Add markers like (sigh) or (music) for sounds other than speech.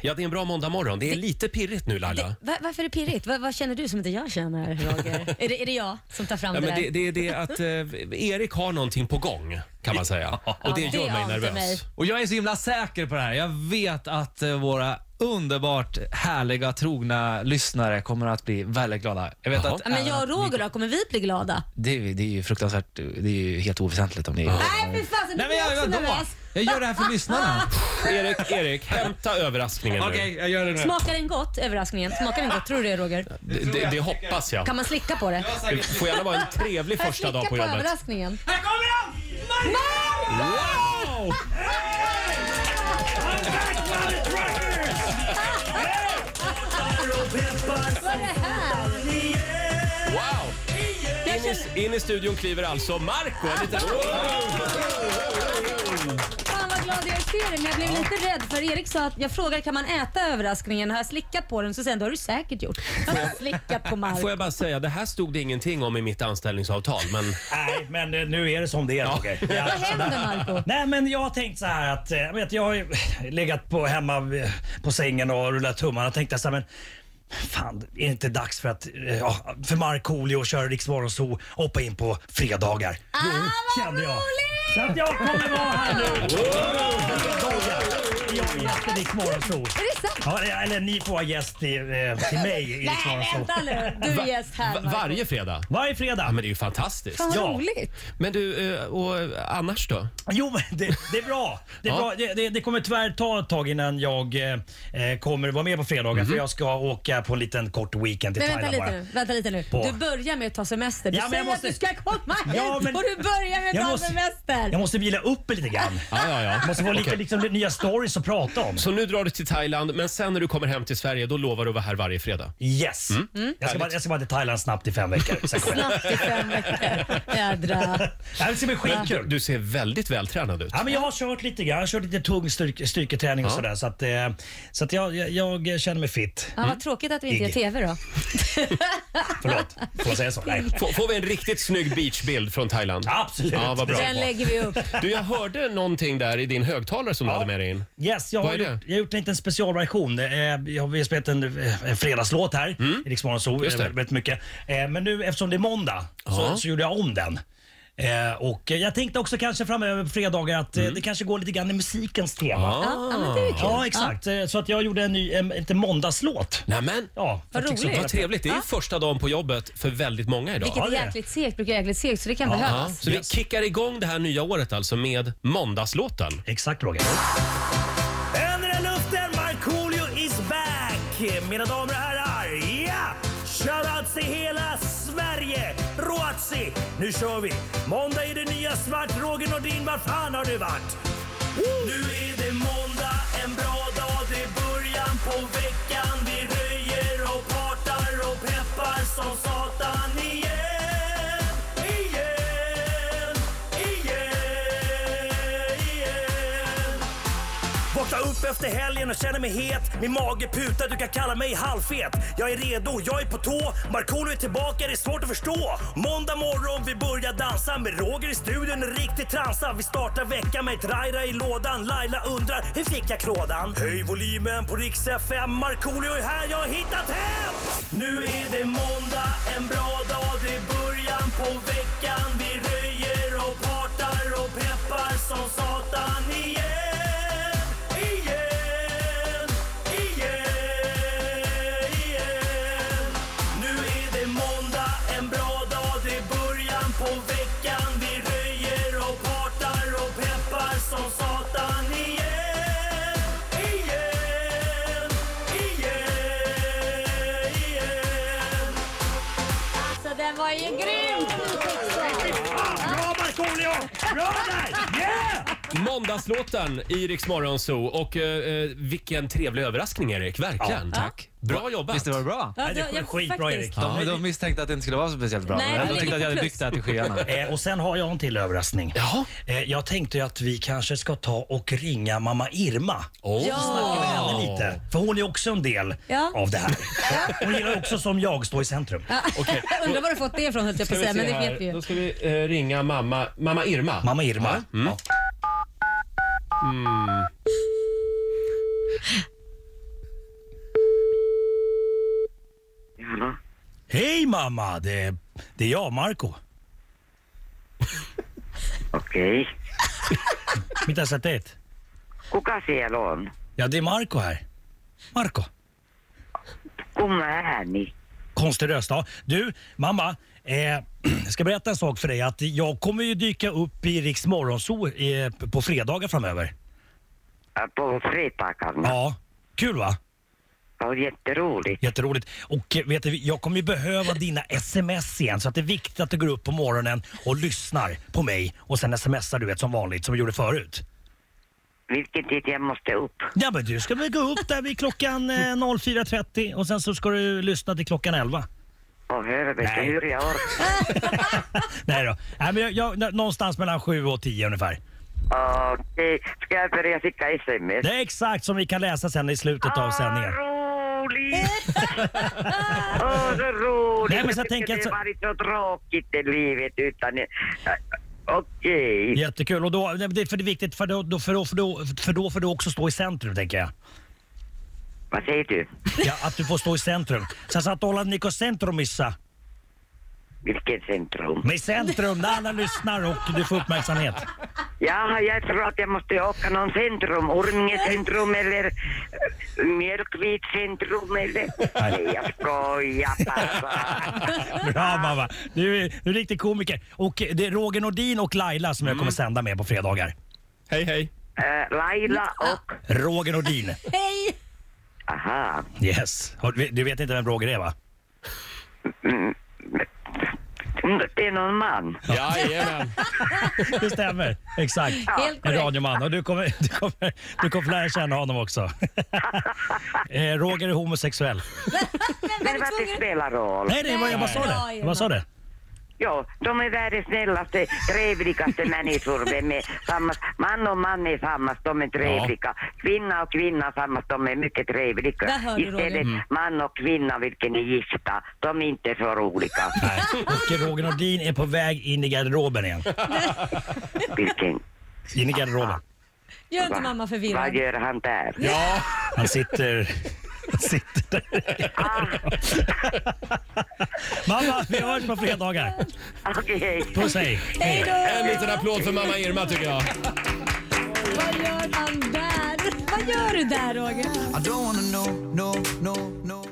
Ja, det är en bra måndagmorgon. Det är lite pirrigt nu Laila. Va, varför är det pirrigt? Va, vad känner du som inte jag känner, (laughs) Roger? är, det, är det jag som tar fram Ja, det men där? det, det är det att eh, Erik har någonting på gång kan man säga. Och det Ja, det gör mig ante nervös. mig. Och jag är så himla säker på det här. Jag vet att eh, våra underbart härliga, trogna lyssnare kommer att bli väldigt glada. Jag vet Jaha. att Ja, men jag och även- Roger då, kommer vi bli glada? det, är- det är ju fruktansvärt, det är ju helt oväsentligt om ni... Nej, fy fasen, nu blir Nej, men jag jag, också vadå? nervös. jag gör det här (laughs) för lyssnarna. Erik, Erik, hämta överraskningen nu. jag gör det nu. Smakar den gott, överraskningen? Smakar den gott? Tror du det, Roger? Det, det, det hoppas jag. Kan man slicka på det? Det får gärna vara en trevlig Får jag första dag slicka på jobbet. överraskningen? Här kommer han! Wow! Vad är det här? wow! Jag känner, In i studion kliver alltså Marco En liten... fan vad glad jag ser dig, men jag blev lite rädd för Erik sa att jag frågade kan man äta överraskningen? Har jag slickat på den? Så sen, det har du säkert gjort. Jag har slickat på Mark. Får jag bara säga, det här stod det ingenting om i mitt anställningsavtal, men Nej, men eh, nu är det som det är Roger. Ja. Vad händer Marco? Nej men jag har tänkt så här att, eh, jag vet jag har ju legat på hemma eh, på sängen och rullat tummarna och tänkt så här men Fan, är det inte dags för att, eh, ja, för Markoolio att köra Rix Morgonzoo och hoppa in på fredagar? Ah, vad roligt! Så att jag kommer vara här nu. Fredagar. Jag är gäst i Rix Morgonzoo. Är det sant? Ja, eller ni får vara gäst till, eh, till mig i Rix Nej, Morgonzoo. vänta nu. Du är gäst här. va- Marco. varje fredag. Varje fredag. Ja, men det är ju fantastiskt. Fan vad Ja. roligt. Men du, eh, och eh, annars då? Jo, men det, det är bra. Det, är Ja. bra. Det, det, det kommer tyvärr ta ett tag innan jag eh, kommer vara med på fredagar Mhm. för jag ska åka på en liten kort weekend till Men vänta lite Thailand bara. nu. Vänta lite nu. På. Du börjar med att ta semester. Du Ja, men säger jag att du måste- ska komma hit Ja, men- och du börjar med att Jag ta måste- semester. Jag måste vila upp mig lite grann. Ja, ja, ja. Jag (laughs) måste få lite Okej. liksom, nya stories att prata om. Så nu drar du till Thailand, men sen när du kommer hem till Sverige, då lovar du att vara här varje fredag. Yes. Mm. Mm. Jag, ska bara, jag ska bara till Thailand snabbt i fem veckor. Sen kommer jag. Snabbt i fem veckor. Jädra. Det här ska bli skitkul. Du ser väldigt vältränad ut. Ja, men jag har kört lite grann. Jag har kört lite tung styrk, styrketräning och sådär. Så att, eh, så att jag, jag, jag känner mig fit. Ja, vad tråkigt att vi inte gör Igg. TV då. Förlåt, får jag säga så? Nej. Får, får vi en riktigt snygg beachbild från Thailand? Absolut. Ja, vad bra. Den lägger vi upp. Du, jag hörde någonting där i din högtalare som du hade med dig in. Yes, jag Vad är har, det? gjort, jag har gjort en liten specialversion. Eh, Jag har spelat en, eh, en fredagslåt här i Rix Morgon Zoo, Mm. Just eh, det. väldigt mycket. Eh, Men nu eftersom det är måndag Ja. så, så gjorde jag om den. Eh, Och eh, jag tänkte också kanske framöver på fredagar att Mm. eh, det kanske går lite grann i musikens tema. Ah. Ja, men det är ju kul. Ja, exakt. Eh, Så att jag gjorde en ny, en, en liten måndagslåt. Nämen, Liksom, Ja, för Vad att roligt. vad trevligt. Det är ju första dagen på jobbet för väldigt många idag. Vilket Ja, är det är det. jäkligt segt, brukar vara jäkligt segt så det kan Ja, behövas. så vi kickar igång det här nya året alltså med måndagslåten. Exakt Roger. Ändra luften, Markoolio is back! Mina damer och herrar, ja! Shoutout till hela Sverige! Roatsi, nu kör vi! Måndag är det nya svart. Roger Nordin, var fan har du varit? Nu är det måndag, en bra dag, det är början på veckan. Vi röjer och partar och peppar som satan igen, igen, igen, igen. Vakna upp efter helgen och känner mig het. Min mage putar, du kan kalla mig halvfet. Jag är redo, jag är på tå. Markoolio är tillbaka, det är svårt att förstå. Måndag morgon, vi börjar dansa med Roger i studion, en riktig transa. Vi startar veckan med ett rajra i lådan. Laila undrar, hur fick jag klådan? Höj volymen på Rix FM. Markoolio är här, jag har hittat hem! Nu är det måndag, en bra dag, det är början på veckan. Vi röjer och partar och peppar som satan igen. Igen, igen, igen. Nu är det måndag, en bra dag, det är början på veckan. Vi röjer och partar och peppar som satan igen. Igen, igen, igen. Alltså den var ju grym! Bra Markoolio! Bra där! Yeah! Måndagslåten i Rix Morgon Zoo och eh, eh, vilken trevlig överraskning Erik, verkligen. Ja, tack. Bra jobbat. Visst det var bra? Ja, Nej, det då- är jag- skitbra, faktiskt. Erik. (laughs) De, de misstänkte att det inte skulle vara så speciellt bra. Nej, men det de ligger tyckte att jag hade plus. byggt det här till skyarna. (laughs) Eh, och sen har jag en till överraskning. Jaha. Eh, jag tänkte ju att vi kanske ska ta och ringa mamma Irma. Oh. Ja. Snacka med henne lite. För hon är också en del Ja. av det här. Hon gillar också som jag, stå i centrum. Okej. Jag (laughs) Undrar var du fått det ifrån höll jag Ska på att vi säga, se men det här. vet vi ju. Då ska vi eh, ringa mamma, mamma Irma. Mamma Irma. Ja. Mm. Ja. Hej mamma, det är, det är jag, Marco. Okei. Okay. Mitä sä teet? Kuka siellä on? Ja det är Marco här. Marco, Kumma ääni? konstig röst. Ja. Du, mamma. Eh, (clears throat) jag ska berätta en sak för dig. Att jag kommer ju dyka upp i Riks Morgonzoo eh, på fredagar framöver. Ä, På fredagarna. Ja, kul va? Det var jätteroligt. Jätteroligt. Och eh, vet du, jag kommer ju behöva dina sms igen så att det är viktigt att du går upp på morgonen och lyssnar på mig och sen smsar du vet som vanligt som vi gjorde förut. Vilken tid jag måste upp? Ja men du ska väl gå upp där vid klockan eh, 04.30 och sen så ska du lyssna till klockan 11. Åh helvete, Nej. hur jag orkar. Nej då. Nej, men jag, jag, någonstans mellan 7 och 10 ungefär. Okej, ska jag börja skicka sms? Det är exakt som vi kan läsa sen i slutet Ah, av sändningen. Åh, roligt! Åh, så roligt! Nej, men så jag tänker tycker jag det så- har varit så tråkigt i livet utan... Ä, Okej. Jättekul. Och då, det, för det är viktigt för då, då, för, då, för, då, för då får du också stå i centrum tänker jag. Vad säger du? Ja, att du får stå i centrum. Sä saat olla niinku centrumissa. Vilket centrum? Med centrum där alla lyssnar och du får uppmärksamhet. Jaha, jag tror att jag måste åka någon centrum. Orminge centrum eller äh, Mjölkvik centrum eller... Nej, jag skojar bara. Bra mamma. Du är, du är riktig komiker. Och det är Roger Nordin och Laila som jag kommer sända med på fredagar. Hej, hej. Äh, Laila och... Roger Nordin. Hej! (laughs) Aha. Yes. Har du- Du vet inte vem Roger är va? Mm, Det är någon man. Jajamän. Det stämmer. Exakt. Helt En korrekt. radioman. Och du kommer, du kommer, du kommer få lära känna honom (laughs) också. eh, Roger är homosexuell. Men Men vad det spelar roll. Nej, det var, jag bara sa det. Jag bara sa det. Ja, de är världens snällaste, trevligaste människor. Vem är samma, man och man är samma, de är trevliga. Kvinna och kvinna är samma, de är mycket trevliga. Där hör du, Roger. Istället man och kvinna, vilken är gifta, de är inte så roliga. Nej. Och Roger Nordin är på väg in i garderoben igen. vilken, In i garderoben. Gör inte mamma vad förvirrad. gör han där? (laughs) Ja. Han sitter... han sitter där. Ah, Mamma, vi hörs på fredagar. Ah, Okej. Puss hej. Hej då! En liten applåd för mamma Irma tycker jag. Vad gör han där? Vad gör du där Roger? I don't wanna know, no, no, no.